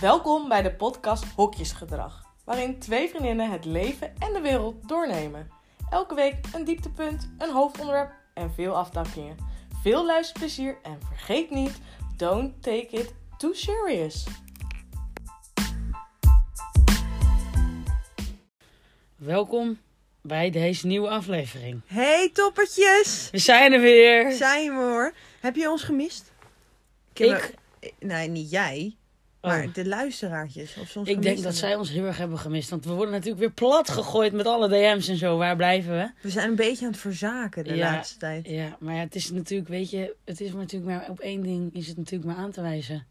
Welkom bij de podcast Hokjesgedrag, waarin twee vriendinnen het leven en de wereld doornemen. Elke week een dieptepunt, een hoofdonderwerp en veel afdakkingen. Veel luisterplezier en vergeet niet, don't take it too serious. Welkom bij deze nieuwe aflevering. Hey toppertjes! We zijn er weer. Zijn we hoor. Heb je ons gemist? ik Nee, niet jij. Maar Oh. de luisteraartjes. Of soms ik denk gemist dat hebben. zij ons heel erg hebben gemist. Want we worden natuurlijk weer plat gegooid met alle DM's en zo. Waar blijven we? We zijn een beetje aan het verzaken de Ja. laatste tijd. Ja, maar ja, het is natuurlijk, weet je, het is maar natuurlijk maar op één ding is het natuurlijk maar aan te wijzen.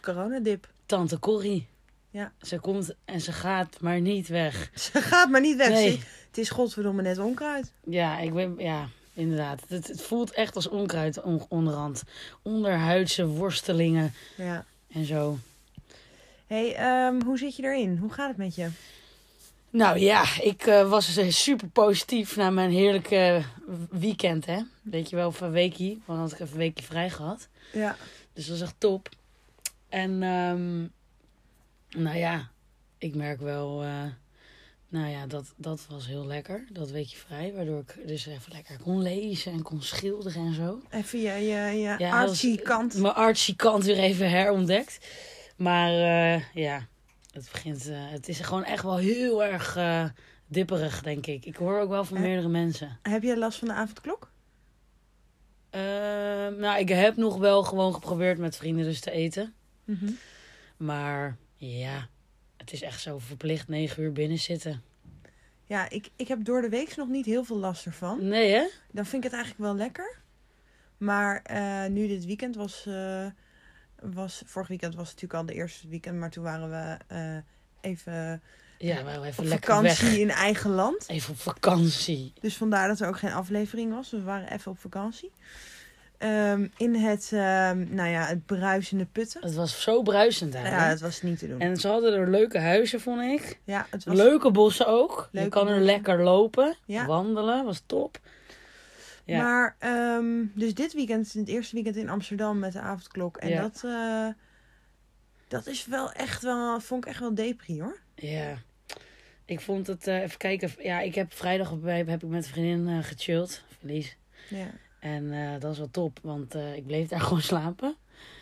Coronadip. Tante Corrie. Ja. Ze komt en ze gaat maar niet weg. Ze gaat maar niet weg. Nee. zie. Het is godverdomme net onkruid. Ja, ik ben, ja, inderdaad. Het, het voelt echt als onkruid on- onderhand. Onderhuidse worstelingen Ja. en zo. hey, ehm, hoe zit je erin? Hoe gaat het met je? Nou ja, ik eh, was eh, super positief na mijn heerlijke eh, weekend, hè. Weet je wel, van weekie. Want had ik even een weekje vrij gehad. Ja. Dus dat was echt top. En ehm, nou ja, ik merk wel... eh, nou ja, dat, dat was heel lekker, dat weekje vrij. Waardoor ik dus even lekker kon lezen en kon schilderen en zo. Even je, je, je Ja, artsy dat kant. Mijn artsy kant weer even herontdekt. Maar eh, ja, het begint. eh, het is gewoon echt wel heel erg eh, dipperig, denk ik. Ik hoor ook wel van Eh? meerdere mensen. Heb jij last van de avondklok? Eh, nou, ik heb nog wel gewoon geprobeerd met vrienden dus te eten. Mhm. Maar ja, het is echt zo verplicht negen uur binnen zitten. Ja, ik, ik heb door de week nog niet heel veel last ervan. Nee, hè? Dan vind ik het eigenlijk wel lekker. Maar eh, nu dit weekend was, eh, was... Vorig weekend was het natuurlijk al de eerste weekend. Maar toen waren we eh, even Ja, wel even op lekker vakantie weg. in eigen land. Even op vakantie. Dus vandaar dat er ook geen aflevering was. We waren even op vakantie. Ehm, in het, ehm, nou ja, het bruisende putten. Het was zo bruisend daar. Ja, hè? het was niet te doen. En ze hadden er leuke huizen, vond ik. ja, het was Leuke bossen ook. je Leuke kan er bossen. lekker lopen. Ja. Wandelen was top. Ja. Maar, ehm, dus dit weekend, het eerste weekend in Amsterdam met de avondklok. En Ja. dat, eh, dat is wel echt wel, vond ik echt wel depri hoor. ja. Ik vond het, eh, even kijken. Ja, ik heb vrijdag op, heb ik met een vriendin eh, gechilled. Verlies. Ja. En eh, dat is wel top, want eh, ik bleef daar gewoon slapen.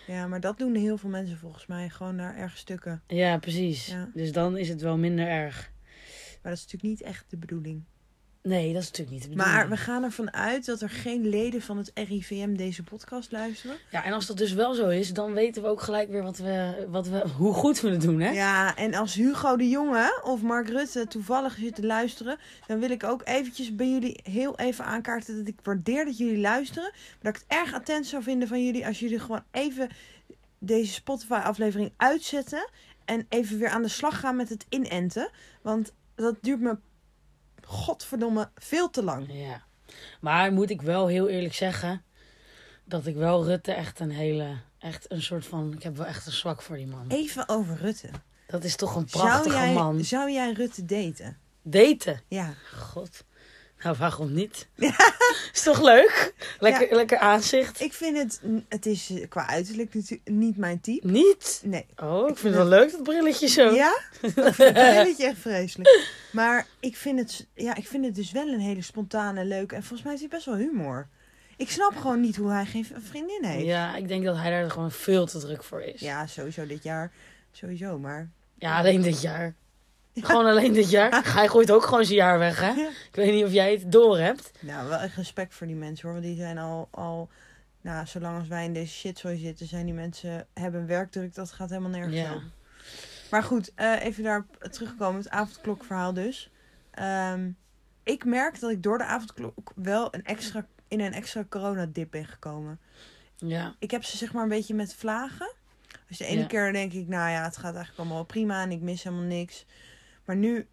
ja, maar dat doen heel veel mensen volgens mij. Gewoon naar erg stukken. Ja, precies. Ja. Dus dan is het wel minder erg. Maar dat is natuurlijk niet echt de bedoeling. Nee, dat is natuurlijk niet de bedoeling. Maar we gaan ervan uit dat er geen leden van het RIVM deze podcast luisteren. Ja, en als dat dus wel zo is, dan weten we ook gelijk weer wat we, wat we, hoe goed we het doen, hè? Ja, en als Hugo de Jonge of Mark Rutte toevallig zit te luisteren, dan wil ik ook eventjes bij jullie heel even aankaarten dat ik waardeer dat jullie luisteren. Maar dat ik het erg attent zou vinden van jullie als jullie gewoon even deze Spotify-aflevering uitzetten en even weer aan de slag gaan met het inenten. Want dat duurt me, godverdomme, veel te lang. Ja. Maar moet ik wel heel eerlijk zeggen dat ik wel Rutte echt een hele, echt een soort van, ik heb wel echt een zwak voor die man. Even over Rutte. Dat is toch een prachtige zou jij, man. Zou jij Rutte daten? Daten. Ja. God. Nou, waarom niet? Is toch leuk? Lekker, lekker aanzicht. Ik vind het, het is eh, qua uiterlijk natu- niet mijn type. Niet? Nee. Oh, ik vind vind het wel leuk, dat brilletje zo. Ja? Dat vind ik echt vreselijk. Maar ik vind, het, ja, ik vind het dus wel een hele spontane, leuke... En volgens mij is hij best wel humor. Ik snap gewoon niet hoe hij geen v- vriendin heeft. Ja, Ja, ik denk dat hij daar gewoon veel te druk voor is. sowieso dit jaar. Sowieso, maar... Ja, alleen dit jaar. Gewoon alleen dit jaar. Hij gooit ook gewoon zijn jaar weg, hè? Ja. Ik weet niet of jij het door hebt. Nou, wel echt respect voor die mensen hoor. Want die zijn al... al nou, zolang als wij in deze shitzooi zitten, zijn die mensen... Hebben werkdruk, dat gaat helemaal nergens Ja. over. Maar goed, eh, even daarop terugkomen. Het avondklokverhaal dus. Ehm, ik merk dat ik door de avondklok wel een extra, in een extra coronadip ben gekomen. Ja. Ik heb ze zeg maar een beetje met vlagen. Dus de ene Ja. keer denk ik, nou ja, het gaat eigenlijk allemaal wel prima en ik mis helemaal niks. Maar nu,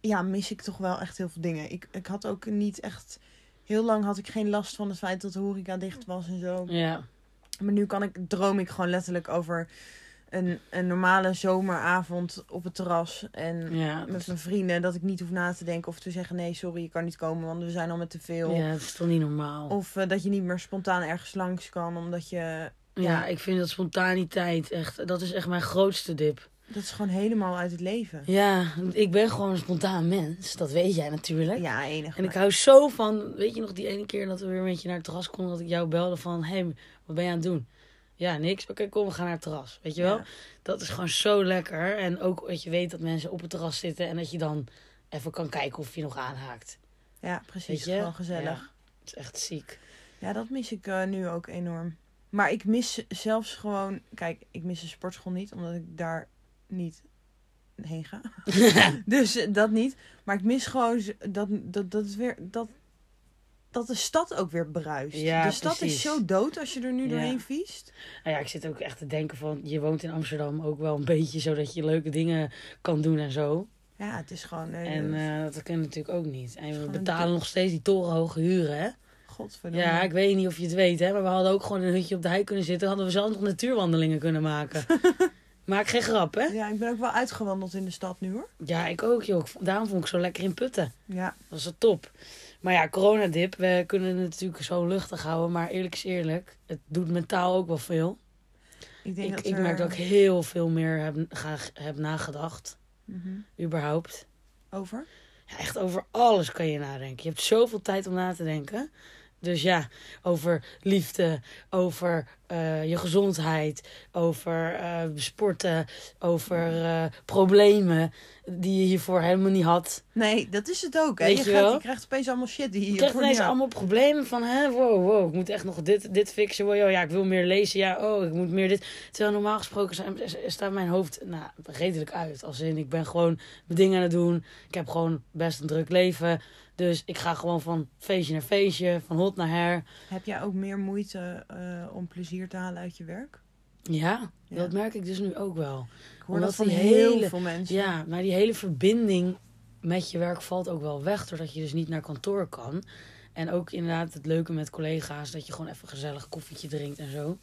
ja, mis ik toch wel echt heel veel dingen. Ik, ik had ook niet echt, heel lang had ik geen last van het feit dat de horeca dicht was en zo. Ja. Maar nu kan ik, droom ik gewoon letterlijk over een, een normale zomeravond op het terras. En Ja. met mijn vrienden. Dat ik niet hoef na te denken of te zeggen: nee, sorry, je kan niet komen, want we zijn al met te veel. Ja, dat is toch niet normaal. Of eh, dat je niet meer spontaan ergens langs kan omdat je Ja, ik vind dat spontaniteit echt, dat is echt mijn grootste dip. Dat is gewoon helemaal uit het leven. Ja, ik ben gewoon een spontaan mens, dat weet jij natuurlijk. Ja, enig. En ik hou zo van, weet je nog die ene keer dat we weer met je naar het terras konden, dat ik jou belde van, hé, hey, wat ben je aan het doen? Ja, niks. Oké, kom, we gaan naar het terras. Weet je wel? Ja. Dat is gewoon zo lekker. En ook dat je weet dat mensen op het terras zitten en dat je dan even kan kijken of je nog aanhaakt. Ja, Weet precies. je? Gewoon gezellig. Ja, het is echt ziek. Ja, dat mis ik eh, nu ook enorm. Maar ik mis zelfs gewoon... Kijk, ik mis de sportschool niet, omdat ik daar niet heen ga. dus eh, dat niet. Maar ik mis gewoon z- dat, dat, dat, het weer, dat, dat de stad ook weer bruist. Ja, de stad precies. is zo dood als je er nu Ja. doorheen viest. Nou ja, ik zit ook echt te denken van, je woont in Amsterdam ook wel een beetje, zodat je leuke dingen kan doen en zo. Ja, het is gewoon... eh, En eh, dat kunnen natuurlijk ook niet. En we gewoon betalen natuurlijk- nog steeds die torenhoge huren, hè? godverdomme. Ja, ik weet niet of je het weet, hè, maar we hadden ook gewoon in een hutje op de hei kunnen zitten. Hadden we zelfs nog natuurwandelingen kunnen maken. Maak geen grap, hè? Ja, ik ben ook wel uitgewandeld in de stad nu hoor. Ja, ik ook, joh. Ik vond- Daarom vond ik het zo lekker in putten. Ja, Dat was het top. Maar ja, coronadip, we kunnen het natuurlijk zo luchtig houden. Maar eerlijk is eerlijk, het doet mentaal ook wel veel. ik denk Ik, dat ik er- merk dat ik heel veel meer heb, ga, heb nagedacht, Mhm. überhaupt. Over? Ja, echt over alles kan je nadenken. Je hebt zoveel tijd om na te denken. Dus ja, over liefde, over eh, je gezondheid, over eh, sporten, over eh, problemen die je hiervoor helemaal niet had. Nee, dat is het ook. Hè? Weet Je, je gaat, wel? je krijgt opeens allemaal shit die je Je krijgt hiervoor niet ineens had. allemaal problemen van, hè, wow, wow, ik moet echt nog dit, dit fixen. Wow, joh, ja, ik wil meer lezen, ja, oh, ik moet meer dit. Terwijl normaal gesproken zijn, staat mijn hoofd nou, redelijk uit. Als in, ik ben gewoon mijn dingen aan het doen. Ik heb gewoon best een druk leven. Dus ik ga gewoon van feestje naar feestje, van hot naar her. Heb jij ook meer moeite eh, om plezier te halen uit je werk? Ja, Ja. dat merk ik dus nu ook wel. Ik hoor Omdat dat van die heel hele- veel mensen. Ja, maar die hele verbinding met je werk valt ook wel weg, doordat je dus niet naar kantoor kan. En ook inderdaad het leuke met collega's, dat je gewoon even gezellig koffietje drinkt en zo.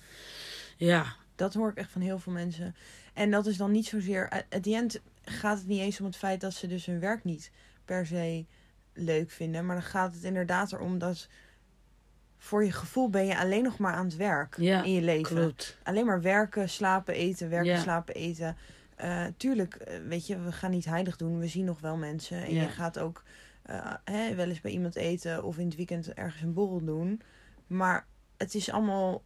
Ja, Dat hoor ik echt van heel veel mensen. En dat is dan niet zozeer... At the end gaat het niet eens om het feit dat ze dus hun werk niet per se leuk vinden. Maar dan gaat het inderdaad erom dat... Voor je gevoel ben je alleen nog maar aan het werk Ja, in je leven. klopt. Alleen maar werken, slapen, eten, werken, Ja. slapen, eten. Eh, tuurlijk, eh, weet je, we gaan niet heilig doen. We zien nog wel mensen. En Ja. je gaat ook eh, hè, wel eens bij iemand eten of in het weekend ergens een borrel doen. Maar het is allemaal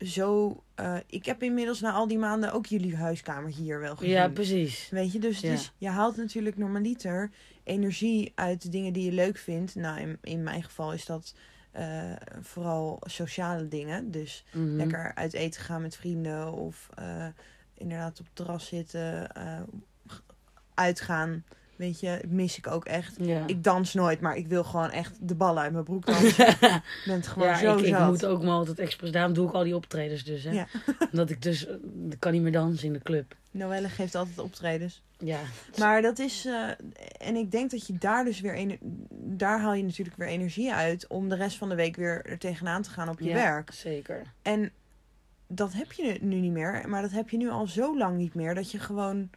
zo... eh, ik heb inmiddels na al die maanden ook jullie huiskamer hier wel gezien. Ja, precies. Weet je, dus, Ja. dus je haalt natuurlijk normaliter energie uit de dingen die je leuk vindt. Nou, in, in mijn geval is dat eh, vooral sociale dingen. Dus Mhm. lekker uit eten gaan met vrienden of eh, inderdaad op het terras zitten, eh, uitgaan. Weet je, mis ik ook echt. Ja. Ik dans nooit, maar ik wil gewoon echt de ballen uit mijn broek dansen. Ik ben het gewoon ja, zo ik, ik zat. moet ook maar altijd expres. Daarom doe ik al die optredens dus. Hè? Ja. Omdat ik dus eh, ik kan niet meer dansen in de club. Noelle geeft altijd optredens. Ja, Maar dat is... eh, en ik denk dat je daar dus weer... ener- daar haal je natuurlijk weer energie uit... om de rest van de week weer er tegenaan te gaan op je Ja. werk. zeker. En dat heb je nu- nu niet meer. Maar dat heb je nu al zo lang niet meer. Dat je gewoon.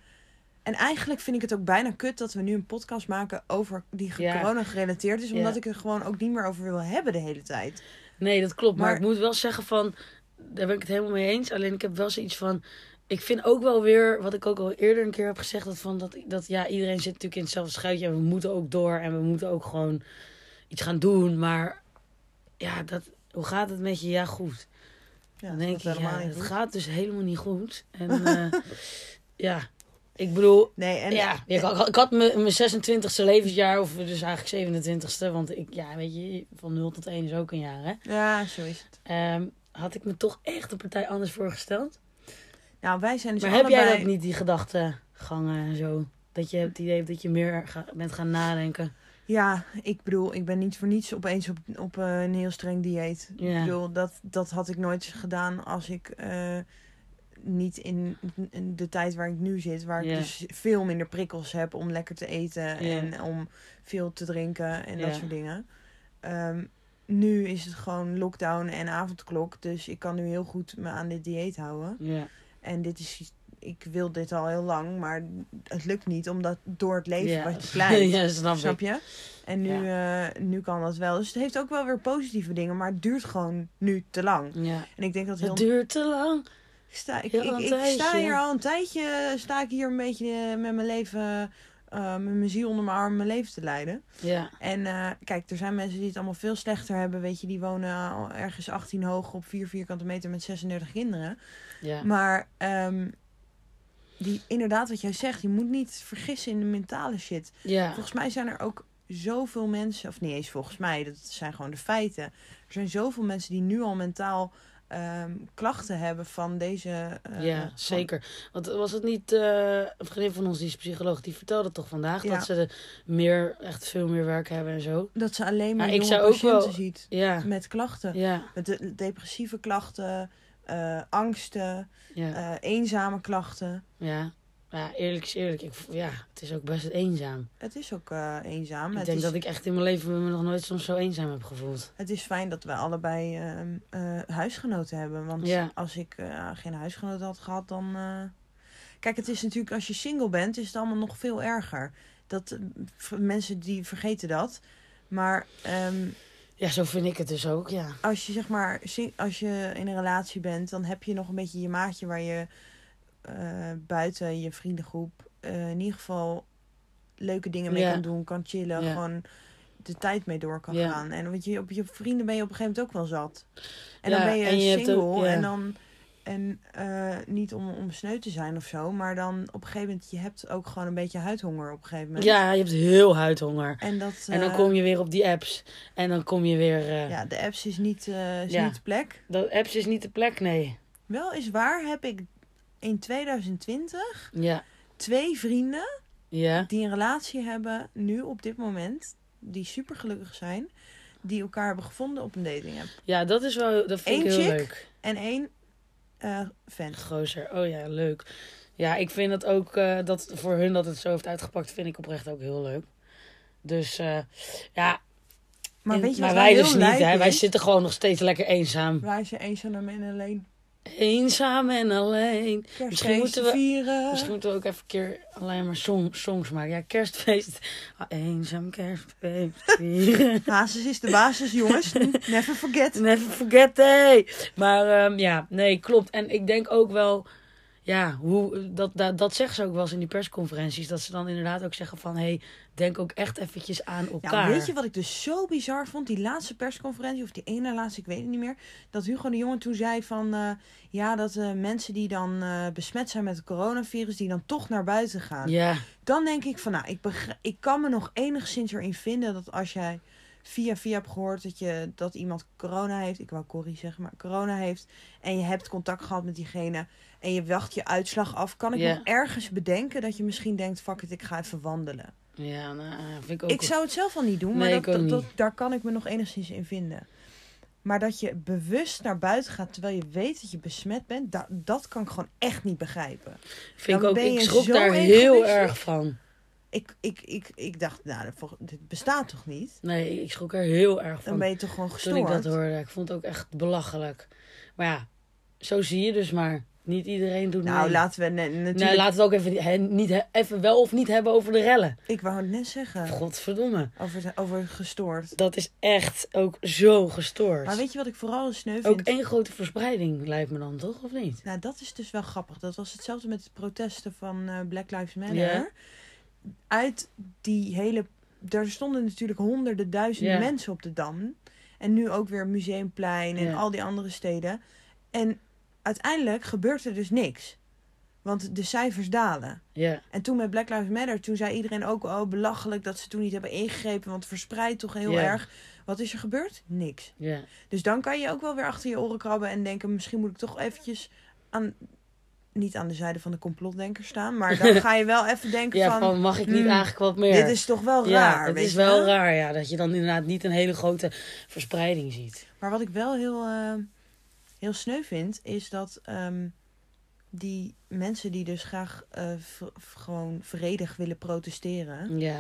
En eigenlijk vind ik het ook bijna kut dat we nu een podcast maken over die ge- Ja. corona gerelateerd is. Omdat Ja. ik er gewoon ook niet meer over wil hebben de hele tijd. Nee, dat klopt. Maar, Maar- ik moet wel zeggen van, daar ben ik het helemaal mee eens. Alleen ik heb wel zoiets van, ik vind ook wel weer, wat ik ook al eerder een keer heb gezegd, dat van dat, dat ja, iedereen zit natuurlijk in hetzelfde schuitje en we moeten ook door en we moeten ook gewoon iets gaan doen. Maar ja, dat, hoe gaat het met je? Ja, goed. Ja, dan dat denk gaat ik, ja, niet het goed. gaat dus helemaal niet goed. En eh, ja, ik bedoel, Nee, en ja, ik, had- ik had mijn mijn 26e levensjaar, of dus eigenlijk 27e, want ik, ja, weet je, van 0 tot 1 is ook een jaar, hè. ja, zo is het. Ehm, had ik me toch echt een partij anders voorgesteld. Nou, wij zijn dus maar heb jij allebei- dat niet, die gedachtegangen en zo? Dat je het idee hebt dat je meer ga- bent gaan nadenken. Ja, ik bedoel, ik ben niet voor niets opeens op, op eh, een heel streng dieet. Ja. Ik bedoel, dat, dat had ik nooit gedaan als ik eh, niet in in de tijd waar ik nu zit, waar Ja. ik dus veel minder prikkels heb om lekker te eten Ja. en om veel te drinken en Ja. dat soort dingen. Ehm, nu is het gewoon lockdown en avondklok, dus ik kan nu heel goed me aan dit dieet houden. Ja. En dit is ik wil dit al heel lang, maar het lukt niet omdat door het leven ja. wat je leidt. ja, snap, Snap ik. je? En nu, eh, nu kan dat wel. Dus het heeft ook wel weer positieve dingen, maar het duurt gewoon nu te lang. Ja. En ik denk dat heel Het duurt te lang. ik sta, ik, Heel een ik, ik tijdje. sta hier al een tijdje, sta ik hier een beetje eh, met mijn leven, eh, met mijn ziel onder mijn arm, mijn leven te leiden. Ja. En eh, kijk, er zijn mensen die het allemaal veel slechter hebben, weet je, die wonen al ergens 18 hoog op 4 vierkante meter met 36 kinderen. Ja. Maar ehm, die, inderdaad, wat jij zegt, je moet niet vergissen in de mentale shit. ja. Volgens mij zijn er ook zoveel mensen, of niet eens volgens mij, dat zijn gewoon de feiten. Er zijn zoveel mensen die nu al mentaal ehm, klachten hebben van deze. eh, ja, van- zeker. Want was het niet eh, een vriendin van ons, die is psycholoog, die vertelde toch vandaag Ja. dat ze er meer, echt veel meer werk hebben en zo. dat ze alleen maar Maar ik jonge zou ook patiënten wel- ziet Ja, met klachten. ja, Met de, depressieve klachten, eh, angsten, ja, eh, eenzame klachten. ja. Ja, eerlijk is eerlijk. Ik, ja, het is ook best eenzaam. Het is ook eh, eenzaam. Ik het, denk is, dat ik echt in mijn leven me nog nooit soms zo eenzaam heb gevoeld. het is fijn dat we allebei ehm, eh, huisgenoten hebben. Want Ja. als ik eh, geen huisgenoten had gehad, dan. eh, Kijk, het is natuurlijk als je single bent, is het allemaal nog veel erger. Dat eh, v- mensen die vergeten dat. Maar ehm, Ja, zo vind ik het dus ook, ja. als je zeg maar sing- als je in een relatie bent, dan heb je nog een beetje je maatje waar je eh, buiten je vriendengroep eh, in ieder geval leuke dingen mee Ja. kan doen, kan chillen, Ja. gewoon de tijd mee door kan Ja. gaan. En want je op je vrienden ben je op een gegeven moment ook wel zat. En Ja, dan ben je, en je hebt single ook- ja. en dan en eh, niet om, om sneu te zijn of zo, maar dan op een gegeven moment je hebt ook gewoon een beetje huidhonger op een gegeven moment. Ja, je hebt heel huidhonger. En dat En dan eh, kom je weer op die apps. En dan kom je weer... eh, ja, de apps is niet eh is Ja. niet de plek. Dat apps is niet de plek, nee. Wel is waar heb ik in 2020 Ja, twee vrienden ja, die een relatie hebben nu op dit moment, die super gelukkig zijn, die elkaar hebben gevonden op een dating app. ja, dat is wel... Dat vind ik Eén heel chick? leuk. En één eh vent. Gozer, oh ja, leuk. Ja, ik vind dat ook, eh, dat voor hun dat het zo heeft uitgepakt, vind ik oprecht ook heel leuk. Dus eh, ja, Maar en- weet je maar wat wij wel dus heel niet, lijp hè? Wij is? zitten gewoon nog steeds lekker eenzaam. Wij zijn eenzaam en alleen. Eenzaam en alleen. Kerstfeest moeten we- vieren. Misschien moeten we ook even een keer alleen maar song, songs maken. Ja, kerstfeest. Ah, eenzaam kerstfeest. vieren. Hazes is de basis, jongens. Never forget. Never forget hey. Maar ehm, ja, nee, klopt. En ik denk ook wel, ja, hoe, dat, dat, dat zeggen ze ook wel eens in die persconferenties. Dat ze dan inderdaad ook zeggen van, hé, hey, denk ook echt eventjes aan Ja, elkaar. maar weet je wat ik dus zo bizar vond? Die laatste persconferentie, of die ene laatste, ik weet het niet meer. Dat Hugo de Jonge toen zei van... eh, ja, dat eh, mensen die dan eh, besmet zijn met het coronavirus... die dan toch naar buiten gaan. Ja, Dan denk ik van, nou, ik, begrijp, ik kan me nog enigszins erin vinden... dat als jij via via hebt gehoord dat, je, dat iemand corona heeft... ik wou Corrie zeggen, maar corona heeft... en je hebt contact gehad met diegene... en je wacht je uitslag af... kan ik Ja. nog ergens bedenken dat je misschien denkt... fuck it, ik ga even wandelen. ja nou, eh, vind ik ook... Ik zou het zelf al niet doen, maar Nee, dat, ik ook dat- dat- niet. daar kan ik me nog enigszins in vinden. Maar dat je bewust naar buiten gaat terwijl je weet dat je besmet bent, da- dat kan ik gewoon echt niet begrijpen. vind ik, dan ook, ben ik je schrok zo daar heel egoïstisch. erg van. Ik, ik, ik, ik dacht, nou, dat vol- dit bestaat toch niet? Nee, ik schrok er heel erg Dan van ben je toch gewoon Oh, toen ik gestoord? dat hoorde. Ik vond het ook echt belachelijk. Maar ja, zo zie je dus maar. Niet iedereen doet nou, mee. laten we ne- natuurlijk. Nee, laten we het ook even, hè, niet, hè, even wel of niet hebben over de rellen. Ik wou het net zeggen Godverdomme. over, het- over gestoord. Dat is echt ook zo gestoord. Maar weet je wat ik vooral sneu ook vind? één grote verspreiding lijkt me dan, toch? Of niet? Nou, dat is dus wel grappig. Dat was hetzelfde met de protesten van eh, Black Lives Matter. Ja. Uit die hele... Daar stonden natuurlijk honderden duizenden Ja. mensen op de Dam. En nu ook weer Museumplein en Ja. al die andere steden. En uiteindelijk gebeurt er dus niks. Want de cijfers dalen. Ja. En toen met Black Lives Matter, toen zei iedereen ook... Oh, belachelijk dat ze toen niet hebben ingegrepen. Want het verspreidt toch heel Ja. erg. Wat is er gebeurd? Niks. Ja. Dus dan kan je ook wel weer achter je oren krabben en denken: misschien moet ik toch eventjes aan. Niet aan de zijde van de complotdenkers staan, maar dan ga je wel even denken: ja, van, van, mag ik niet hmm, eigenlijk wat meer? Dit is toch wel raar. Ja, het weet is je wel wel? raar, ja. Dat je dan inderdaad niet een hele grote verspreiding ziet. Maar wat ik wel heel, eh, heel sneu vind, is dat ehm, die mensen die dus graag eh, v- v- gewoon vredig willen protesteren, Ja.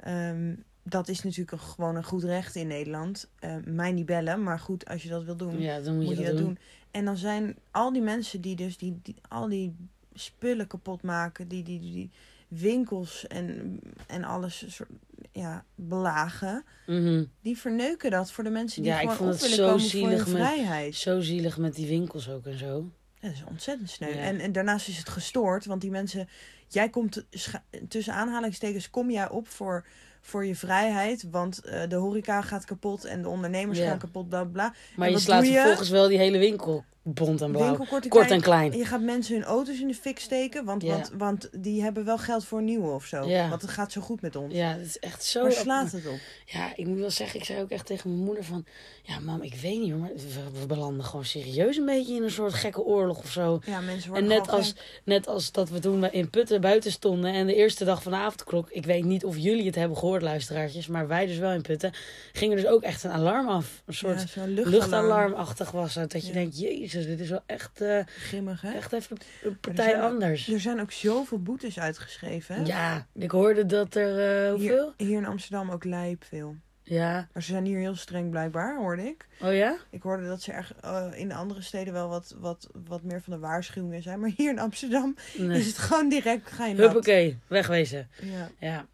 ehm, dat is natuurlijk een- gewoon een goed recht in Nederland. Eh, mij niet bellen, maar goed, als je dat wil doen. Ja, dan moet, moet je dat doen. En dan zijn al die mensen die dus die, die al die spullen kapot maken. Die, die, die, die winkels en, en alles een soort, ja, belagen. Mhm. Die verneuken dat voor de mensen die Ja, ik gewoon vond op het willen zo komen zielig voor hun met- vrijheid. Zo zielig met die winkels ook en zo. Ja, dat is ontzettend sneu. Ja. En, en daarnaast is het gestoord, want die mensen... Jij komt scha- tussen aanhalingstekens kom jij op voor, voor je vrijheid. Want eh, de horeca gaat kapot en de ondernemers Ja. gaan kapot, bla bla. Maar je En wat slaat doe je? vervolgens wel die hele winkel bont en blauw. Winkel kort en Kort klein. en klein. Je gaat mensen hun auto's in de fik steken, want, Ja. want, want die hebben wel geld voor een nieuwe of zo. Ja. Want het gaat zo goed met ons. Ja, dat is echt zo... Waar slaat het op? Ja, ik moet wel zeggen, ik zei ook echt tegen mijn moeder van... Ja, mam, ik weet niet hoor, maar we, we belanden gewoon serieus een beetje in een soort gekke oorlog of zo. Ja, mensen En worden net gewoon als, net als dat we toen we in Putten buiten stonden en de eerste dag van de avondklok... Ik weet niet of jullie het hebben gehoord, luisteraartjes, maar wij dus wel in Putten... ging er dus ook echt een alarm af. Een gek. soort Ja, zo'n luchtalarmachtig was het. Dat je Ja. denkt, jezus, dit is wel echt, eh, Grimmig, hè? echt even een er partij zijn ook- anders. Er zijn ook zoveel boetes uitgeschreven, hè? Ja, ik hoorde dat er, eh, hoeveel? Hier, hier in Amsterdam ook lijp veel. Ja. Maar ze zijn hier heel streng blijkbaar, hoorde ik. Oh ja? Ik hoorde dat ze erg, eh, in de andere steden wel wat, wat, wat meer van de waarschuwingen zijn. Maar hier in Amsterdam Nee. is het gewoon direct ga je nat. Huppakee, wegwezen. Ja. Ja.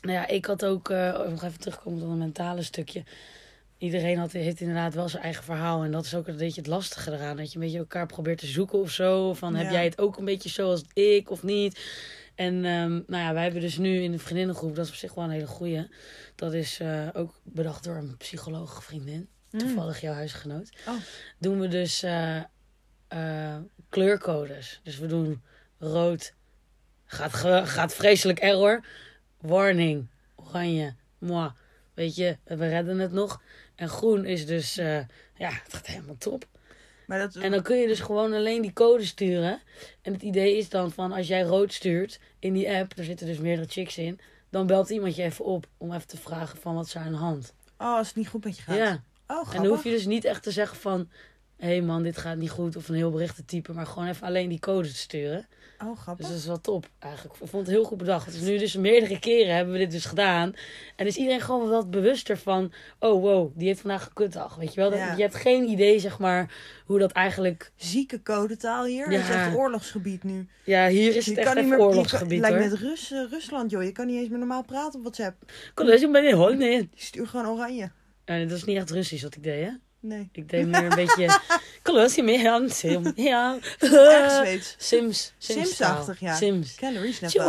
Nou ja, ik had ook, eh, nog even terugkomen op dat mentale stukje. Iedereen had, heeft inderdaad wel zijn eigen verhaal. En dat is ook een beetje het lastige eraan. Dat je een beetje elkaar probeert te zoeken of zo. Van heb Ja. jij het ook een beetje zoals ik of niet? En ehm, nou ja, wij hebben dus nu in de vriendinnengroep, dat is op zich wel een hele goeie. Dat is eh, ook bedacht door een psycholoog vriendin. Toevallig jouw huisgenoot. Mm. Oh. Doen we dus eh, eh, kleurcodes. Dus we doen rood. Gaat, ge- gaat vreselijk error. Warning. Oranje. Moi. Weet je, we redden het nog. En groen is dus... eh, ja, het gaat helemaal top. Maar dat, En dan kun je dus gewoon alleen die code sturen. En het idee is dan van als jij rood stuurt in die app, daar zitten dus meerdere chicks in, dan belt iemand je even op om even te vragen van wat is er aan de hand. oh, als het niet goed met je gaat. Ja, Oh, grappig. en dan hoef je dus niet echt te zeggen van hé hey man, dit gaat niet goed of een heel bericht te typen, maar gewoon even alleen die code te sturen. Oh, grappig. Dus dat is wel top eigenlijk. Ik vond het heel goed bedacht. Dus nu dus meerdere keren hebben we dit dus gedaan. En is iedereen gewoon wat bewuster van... Oh wow, die heeft vandaag een kutdag. Weet je wel? Dat, Ja. Je hebt geen idee zeg maar hoe dat eigenlijk... Zieke codetaal hier. Het is Ja. echt oorlogsgebied nu. Ja, hier is het echt even je oorlogsgebied kan- hoor. lijkt met Rus, eh, Rusland, joh. Je kan niet eens meer normaal praten op WhatsApp. Kom, dat is een beetje hoor. Nee. Die stuurt gewoon oranje. Eh, dat is niet echt Russisch wat ik deed hè. Nee. Ik deed meer een beetje... Kolossie meer aan Sim. Ja. Eh. Erg Zweeds. Sims. Sims-achtig, ja. Sims. Calories net wel.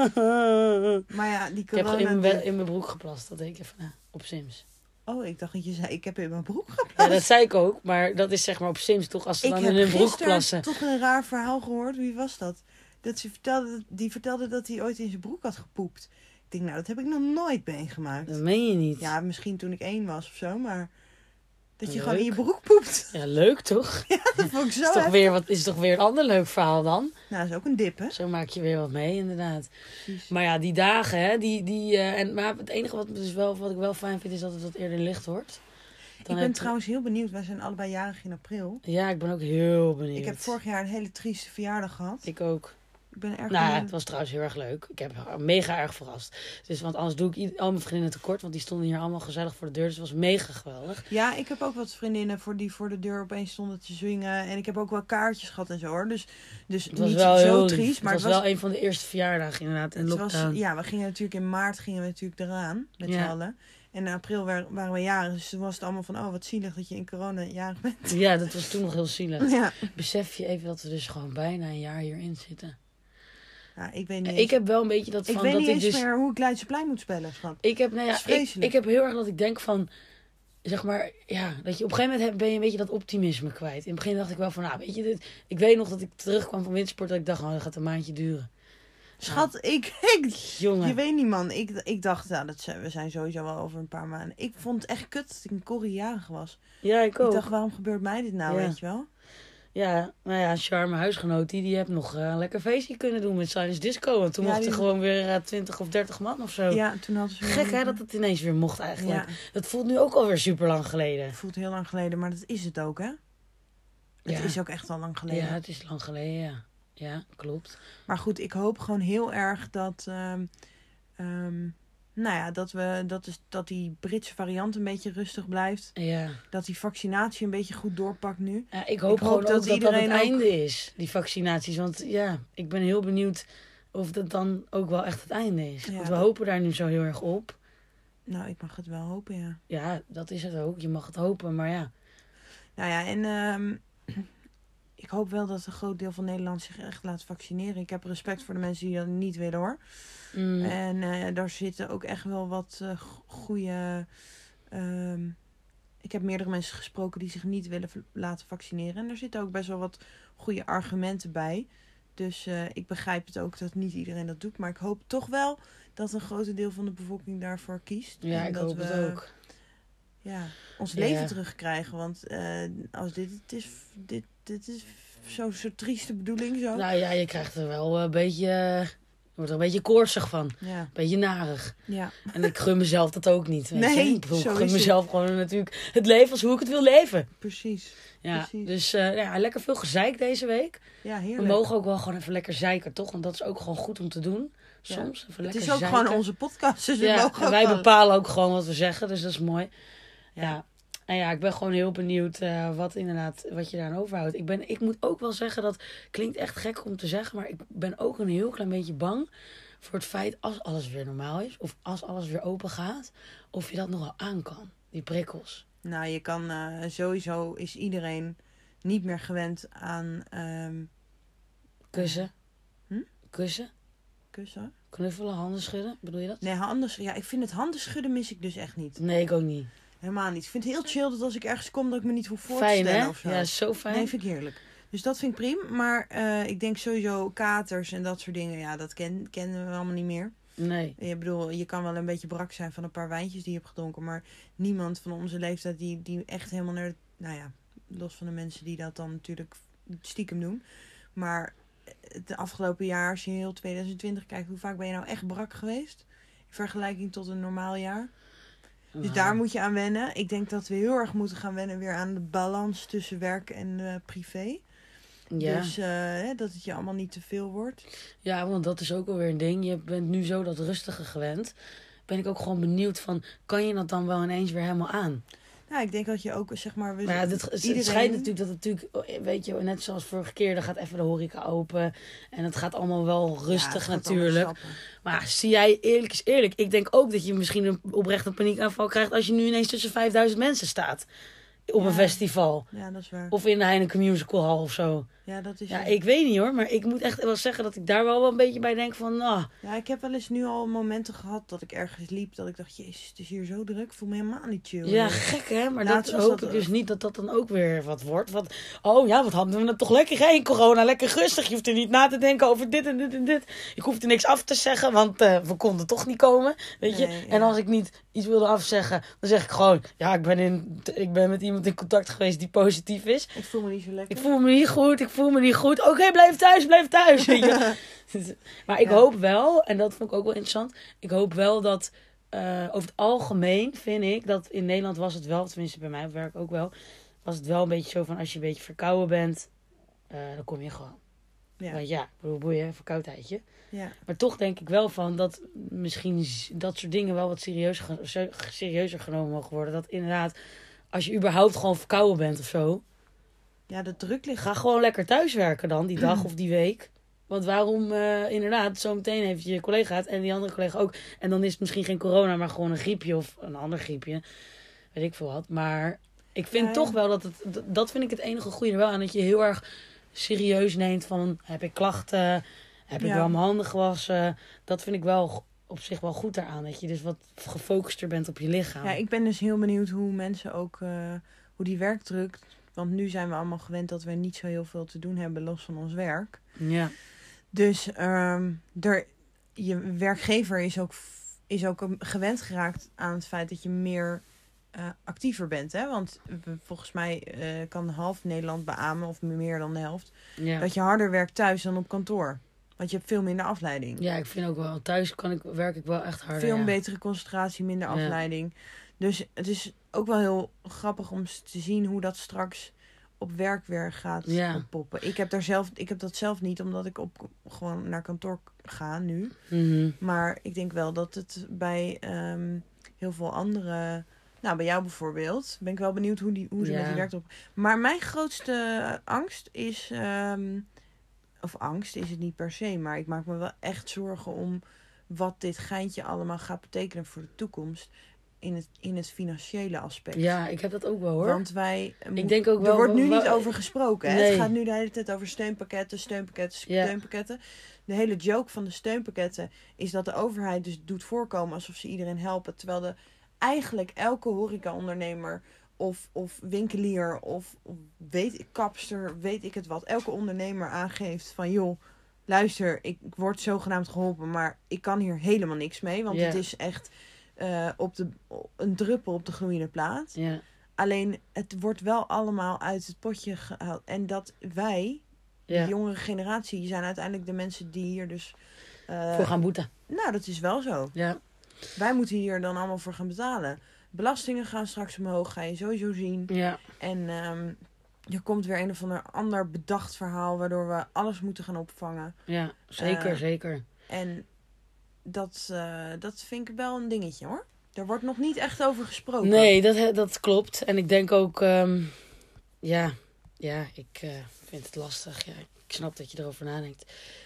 Ik Maar ja, die heb corona... gewoon in mijn, in mijn broek geplast. Dat deed ik even na. Op Sims. Oh, ik dacht dat je zei, ik heb in mijn broek Ja, dat zei ik ook, maar dat is zeg maar op Sims toch als ze Ik dan heb in hun broek gisteren plassen. toch een raar verhaal gehoord. Wie was dat? dat ze vertelde, die vertelde dat hij ooit in zijn broek had gepoept. Ik denk, nou, dat heb ik nog nooit meegemaakt. Dat meen je niet. Ja, Ja, misschien toen ik één was of zo, maar... Dat je Leuk. gewoon in je broek poept. leuk toch? Dat vond ik zo... Is toch, hè? weer wat, is toch weer een ander leuk verhaal dan? Nou, dat is ook een dip, hè? Zo maak je weer wat mee, inderdaad. Precies. Maar ja, die dagen, hè, die, die, eh, en, maar het enige wat, me dus wel, wat ik wel fijn vind, is dat het wat eerder licht wordt. ik ben heb- trouwens heel benieuwd. Wij zijn allebei jarig in april. Ja, ik ben ook heel benieuwd. Ik heb vorig jaar een hele trieste verjaardag gehad. Ik, Ik ook. ben erg Nou, benieuwd. het was trouwens heel erg leuk. Ik heb haar mega erg verrast. Dus, want anders doe ik ied- al mijn vriendinnen tekort, want die stonden hier allemaal gezellig voor de deur. Dus het was mega geweldig. Ja, ik heb ook wat vriendinnen voor die voor de deur opeens stonden te zwingen. En ik heb ook wel kaartjes gehad en zo hoor. Dus, dus Het was niet wel heel zo lief. triest, maar het was, wel een van de eerste verjaardagen inderdaad. En het was- lockdown. ja, we gingen natuurlijk in maart gingen we natuurlijk eraan met Ja. z'n allen. En in april wa- waren we jarig, dus toen was het allemaal van oh wat zielig dat je in corona jarig bent. Ja, dat was toen nog heel zielig. Ja. Besef je even dat we dus gewoon bijna een jaar hierin zitten. Ja, ik weet niet. Ik eens- heb wel een beetje dat ik van weet dat niet ik eens dus. meer hoe ik Leidseplein moet spellen, schat. Ik heb, nou Dat is ja, ik, vreselijk. ik heb heel erg dat ik denk van. Zeg maar, ja, dat je op een gegeven moment heb- ben je een beetje dat optimisme kwijt. In het begin dacht ik wel van, nou, weet je dit. Ik weet nog dat ik terugkwam van wintersport. Dat ik dacht, oh, dat gaat een maandje duren. Schat, ik, ik Jongen. je weet niet man, ik, ik dacht nou, dat zijn, we zijn sowieso wel over een paar maanden. Ik vond het echt kut dat ik in Corrie jarig was. ja, ik Ik ook. dacht waarom gebeurt mij dit nou, Ja. weet je wel? Ja, nou ja, Char, mijn huisgenoot, die, die heeft nog eh, een lekker feestje kunnen doen met Silence Disco. Want toen Ja, mochten die- gewoon weer eh, 20 of 30 man of zo. Ja, toen hadden ze Gek hè, dat het ineens weer mocht eigenlijk. Ja, Dat voelt nu ook alweer super lang geleden. het voelt heel lang geleden, maar dat is het ook, hè? Het Ja. is ook echt al lang geleden. Ja, het is lang geleden, ja. Ja, klopt. Maar goed, ik hoop gewoon heel erg dat, ehm, ehm, Nou ja, dat, we, dat, is, dat die Britse variant een beetje rustig blijft. Ja. Dat die vaccinatie een beetje goed doorpakt nu. Ja, ik hoop Ik hoop gewoon dat ook dat dat het iedereen ook- einde is, die vaccinaties. Want ja, ik ben heel benieuwd of dat dan ook wel echt het einde is. Ja, want we dat- hopen daar nu zo heel erg op. Nou, ik mag het wel hopen, ja. Ja, dat is het ook. Je mag het hopen, maar ja. Nou ja, en ehm, ik hoop wel dat een groot deel van Nederland zich echt laat vaccineren. Ik heb respect voor de mensen die dat niet willen hoor. Mm, En eh, daar zitten ook echt wel wat eh, go- goede. ehm, ik heb meerdere mensen gesproken die zich niet willen v- laten vaccineren. En daar zitten ook best wel wat goede argumenten bij. Dus eh, ik begrijp het ook dat niet iedereen dat doet. Maar ik hoop toch wel dat een groot deel van de bevolking daarvoor kiest. ja, En ik dat hoop we- het ook. ja, ons Ja. leven terugkrijgen. Want eh, als dit het is, dit, dit is zo'n zo trieste bedoeling zo. Nou ja, je krijgt er wel een beetje... eh, Je wordt er een beetje koortsig van. Een Ja, beetje narig. ja. En ik gun mezelf dat ook niet. Weet Nee, je? Ik bedoel, ik zo gun is het. mezelf gewoon natuurlijk het leven als hoe ik het wil leven. precies. Ja, Precies. dus eh, ja, lekker veel gezeik deze week. Ja, We heerlijk. mogen ook wel gewoon even lekker zeiken, toch? Want dat is ook gewoon goed om te doen. Ja. Soms. Even het lekker is ook zeiken. gewoon onze podcast, dus we Ja, mogen en ook wij wel- bepalen ook gewoon wat we zeggen, dus dat is mooi. Ja. Ja. En ja, ik ben gewoon heel benieuwd eh, wat inderdaad, wat je daaraan overhoudt. Ik, ben, ik moet ook wel zeggen, dat klinkt echt gek om te zeggen, maar ik ben ook een heel klein beetje bang voor het feit als alles weer normaal is, of als alles weer open gaat, of je dat nog wel aan kan, die prikkels. Nou, je kan eh, sowieso is iedereen niet meer gewend aan ehm, Kussen. Hm? Kussen. kussen. Knuffelen, handen schudden, bedoel je dat? Nee, handen, sch- ja, ik vind het handen schudden mis ik dus echt niet. Nee, ik ook niet. Helemaal niet. Ik vind het heel chill dat als ik ergens kom dat ik me niet hoef voor te Fijn, stellen hè? of zo. Ja, zo fijn. Nee, vind ik heerlijk. Dus dat vind ik prima. Maar eh, ik denk sowieso katers en dat soort dingen. Ja, dat ken, kennen we allemaal niet meer. Nee. Ik bedoel, je kan wel een beetje brak zijn van een paar wijntjes die je hebt gedronken. Maar niemand van onze leeftijd die, die echt helemaal naar... de- Nou ja, los van de mensen die dat dan natuurlijk stiekem doen. Maar het afgelopen jaar, als je heel 2020 kijkt... Hoe vaak ben je nou echt brak geweest? In vergelijking tot een normaal jaar. Dus Nou, daar moet je aan wennen. Ik denk dat we heel erg moeten gaan wennen weer aan de balans tussen werk en eh, privé. ja. Dus eh, hè, dat het je allemaal niet te veel wordt. Ja, want dat is ook alweer een ding. Je bent nu zo dat rustige gewend. Ben ik ook gewoon benieuwd van, kan je dat dan wel ineens weer helemaal aan? Nou, ik denk dat je ook, zeg maar... We Maar ja, dit, het Dus iedereen- schijnt natuurlijk dat het natuurlijk, oh, weet je, net zoals vorige keer, dan gaat even de horeca open. En het gaat allemaal wel Ja, het rustig gaat allemaal natuurlijk. stappen. Maar zie jij, eerlijk is eerlijk, ik denk ook dat je misschien een oprechte paniekaanval krijgt als je nu ineens tussen 5000 mensen staat. Op een Ja. festival. Ja, dat is waar. Of in de Heineken Musical Hall of zo. Dus Ja, dat is Ja, het. ik weet niet hoor, maar ik moet echt wel zeggen dat ik daar wel een beetje bij denk van, ah, ja, ik heb wel eens nu al momenten gehad dat ik ergens liep. Dat ik dacht, jezus, het is hier zo druk. Ik voel me helemaal niet chill. Ja, gek hè? Maar Laatst dat was hoop dat ik ook. dus niet dat dat dan ook weer wat wordt. Want, oh ja, wat hadden we het toch lekker geen corona. Lekker rustig. Je hoeft er niet na te denken over dit en dit en dit. Ik hoefde niks af te zeggen, want eh, we konden toch niet komen. Weet je? Nee, ja. En als ik niet iets wilde afzeggen, dan zeg ik gewoon... Ja, ik ben, in, ik ben met iemand in contact geweest die positief is. Ik voel me niet zo lekker. Ik voel me niet goed, ik voel me niet goed. Oké, blijf thuis, blijf thuis. weet je. maar ik Ja. hoop wel, en dat vond ik ook wel interessant. Ik hoop wel dat eh, over het algemeen vind ik dat in Nederland was het wel, tenminste bij mij op werk ook wel, was het wel een beetje zo van als je een beetje verkouden bent, eh, dan kom je gewoon. Ja. Want ja, ik bedoel, boeien, verkoudheidje. Ja. Maar toch denk ik wel van dat misschien z- dat soort dingen wel wat serieus, ge- se- serieuzer genomen mogen worden. Dat inderdaad, als je überhaupt gewoon verkouden bent of zo, ja, de druk ligt. Ga gewoon lekker thuiswerken dan, die dag of die week. Want waarom, eh, inderdaad, zometeen heeft je collega het en die andere collega ook. En dan is het misschien geen corona, maar gewoon een griepje of een ander griepje. Weet ik veel wat. Maar ik vind Ja, ja. toch wel dat het, d- dat vind ik het enige goede er wel aan. Dat je heel erg serieus neemt van, heb ik klachten? Heb ik Ja. wel mijn handen gewassen? Dat vind ik wel g- op zich wel goed daaraan. Dat je dus wat gefocuster bent op je lichaam. Ja, ik ben dus heel benieuwd hoe mensen ook, eh, hoe die werkdruk. Want nu zijn we allemaal gewend dat we niet zo heel veel te doen hebben los van ons werk. ja. Dus ehm, er, je werkgever is ook, f- is ook een- gewend geraakt aan het feit dat je meer eh, actiever bent. Hè? Want we- volgens mij eh, kan half Nederland beamen, of meer dan de helft, ja. dat je harder werkt thuis dan op kantoor. Want je hebt veel minder afleiding. Ja, ik vind ook wel, thuis kan ik, werk ik wel echt harder. veel ja. betere concentratie, minder Ja. afleiding. Dus het is ook wel heel grappig om s- te zien hoe dat straks op werk weer gaat Ja. poppen. Ik heb, daar zelf, ik heb dat zelf niet, omdat ik op, gewoon naar kantoor ga nu. Mhm. Maar ik denk wel dat het bij ehm, heel veel andere. Nou, bij jou bijvoorbeeld. Ben ik wel benieuwd hoe, die, hoe ze met Ja. die werkt op. Maar mijn grootste angst is. ehm, of angst is het niet per se. Maar ik maak me wel echt zorgen om wat dit geintje allemaal gaat betekenen voor de toekomst. In het, in het financiële aspect. Ja, ik heb dat ook wel hoor. Want wij. ik denk ook wel. er wordt nu wel- niet over gesproken. Hè? Nee. Het gaat nu de hele tijd over steunpakketten, steunpakketten, Ja. steunpakketten. De hele joke van de steunpakketten is dat de overheid dus doet voorkomen alsof ze iedereen helpen. Terwijl de, eigenlijk elke horecaondernemer of, of winkelier of, of weet, ik- kapster, weet ik het wat, elke ondernemer aangeeft van joh, luister, ik word zogenaamd geholpen, maar ik kan hier helemaal niks mee. Want Ja. het is echt eh, op de, een druppel op de gloeiende plaat. Ja, Alleen het wordt wel allemaal uit het potje gehaald. En dat wij, ja. de jongere generatie, zijn uiteindelijk de mensen die hier dus. eh, Voor gaan boeten. nou, dat is wel zo. Ja. Wij moeten hier dan allemaal voor gaan betalen. Belastingen gaan straks omhoog, ga je sowieso zien. Ja. En ehm, er komt weer een of ander, ander bedacht verhaal waardoor we alles moeten gaan opvangen. Ja, zeker, Eh, zeker. En dat, eh, dat vind ik wel een dingetje hoor. Daar wordt nog niet echt over gesproken. Nee, dat, he- dat klopt. En ik denk ook, ehm, ja, ja, ik eh, vind het lastig. Ja, ik snap dat je erover nadenkt.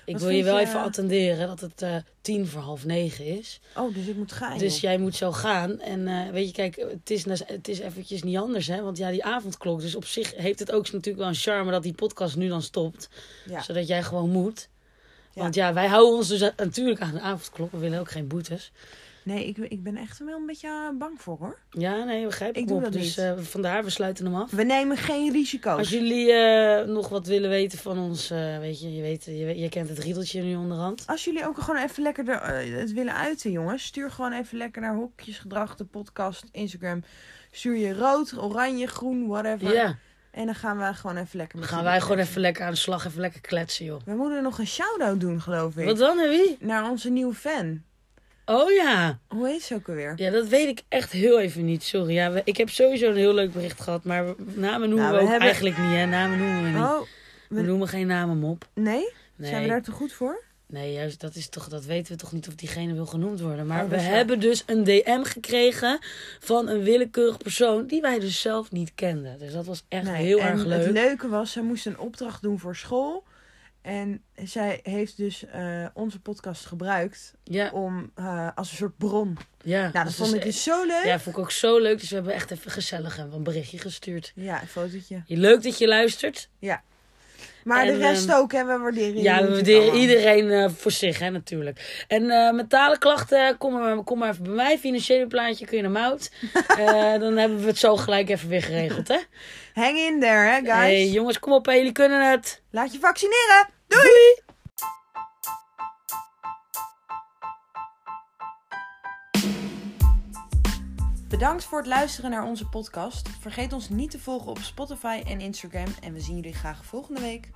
Ik Wat wil je vind wel je- even attenderen dat het eh, tien voor half negen is. Oh, dus ik moet gaan. Dus joh. jij moet zo gaan. En eh, weet je, kijk, het is, nes- het is eventjes niet anders, hè. Want ja, die avondklok. Dus op zich heeft het ook natuurlijk wel een charme dat die podcast nu dan stopt. Ja. Zodat jij gewoon moet. Ja. Want ja, wij houden ons dus a- natuurlijk aan de avondklok. We willen ook geen boetes. Nee, ik, ik ben echt wel een beetje eh, bang voor hoor. Ja, nee, begrijp ik. Ik doe Bob. dat dus niet. eh, vandaar, we sluiten hem af. We nemen geen risico's. Als jullie eh, nog wat willen weten van ons, eh, weet je, je, weet, je, weet- je kent het riedeltje nu onderhand. Als jullie ook gewoon even lekker de, eh, het willen uiten, jongens. Stuur gewoon even lekker naar Hokjesgedrag, de podcast, Instagram. Stuur je rood, oranje, groen, whatever. Ja, En dan gaan we gewoon even lekker dan met gaan jullie wij gewoon kletsen. even lekker aan de slag, even lekker kletsen, joh. We moeten nog een shout-out doen, geloof ik. Wat dan, hè, wie? Naar onze nieuwe fan. Oh ja. Hoe heet ze ook alweer? Ja, dat weet ik echt heel even niet, sorry. Ja, we- ik heb sowieso een heel leuk bericht gehad, maar we- namen noemen Nou, we, we ook hebben- eigenlijk niet, hè. Namen noemen we niet. Oh, we... noemen geen namen op. nee? Nee. Zijn we daar te goed voor? Nee, juist, dat, is toch, dat weten we toch niet of diegene wil genoemd worden. Maar Oh, we dat is waar. hebben dus een DM gekregen van een willekeurig persoon die wij dus zelf niet kenden. Dus dat was echt Nee. heel en erg leuk. Het leuke was, zij moest een opdracht doen voor school. En zij heeft dus eh, onze podcast gebruikt Ja, om, eh, als een soort bron. ja. Nou, dat Dus vond is- ik dus zo leuk. Ja, vond ik ook zo leuk. Dus we hebben echt even gezellig hem een berichtje gestuurd. Ja, een fotootje. Leuk dat je luistert. Maar En, de rest ehm, ook, hè? We waarderen Ja, we jullie waarderen natuurlijk iedereen eh, voor zich, hè, natuurlijk. En eh, mentale klachten, eh, kom maar, kom maar even bij mij. Financiële plaatje, kun je naar Mout. Eh, dan hebben we het zo gelijk even weer geregeld, hè. allemaal. Hang in there, hè, guys. Hey, jongens, kom op, hè, jullie kunnen het. Laat je vaccineren. Doei! Bedankt voor het luisteren naar onze podcast. Vergeet ons niet te volgen op Spotify en Instagram. En we zien jullie graag volgende week.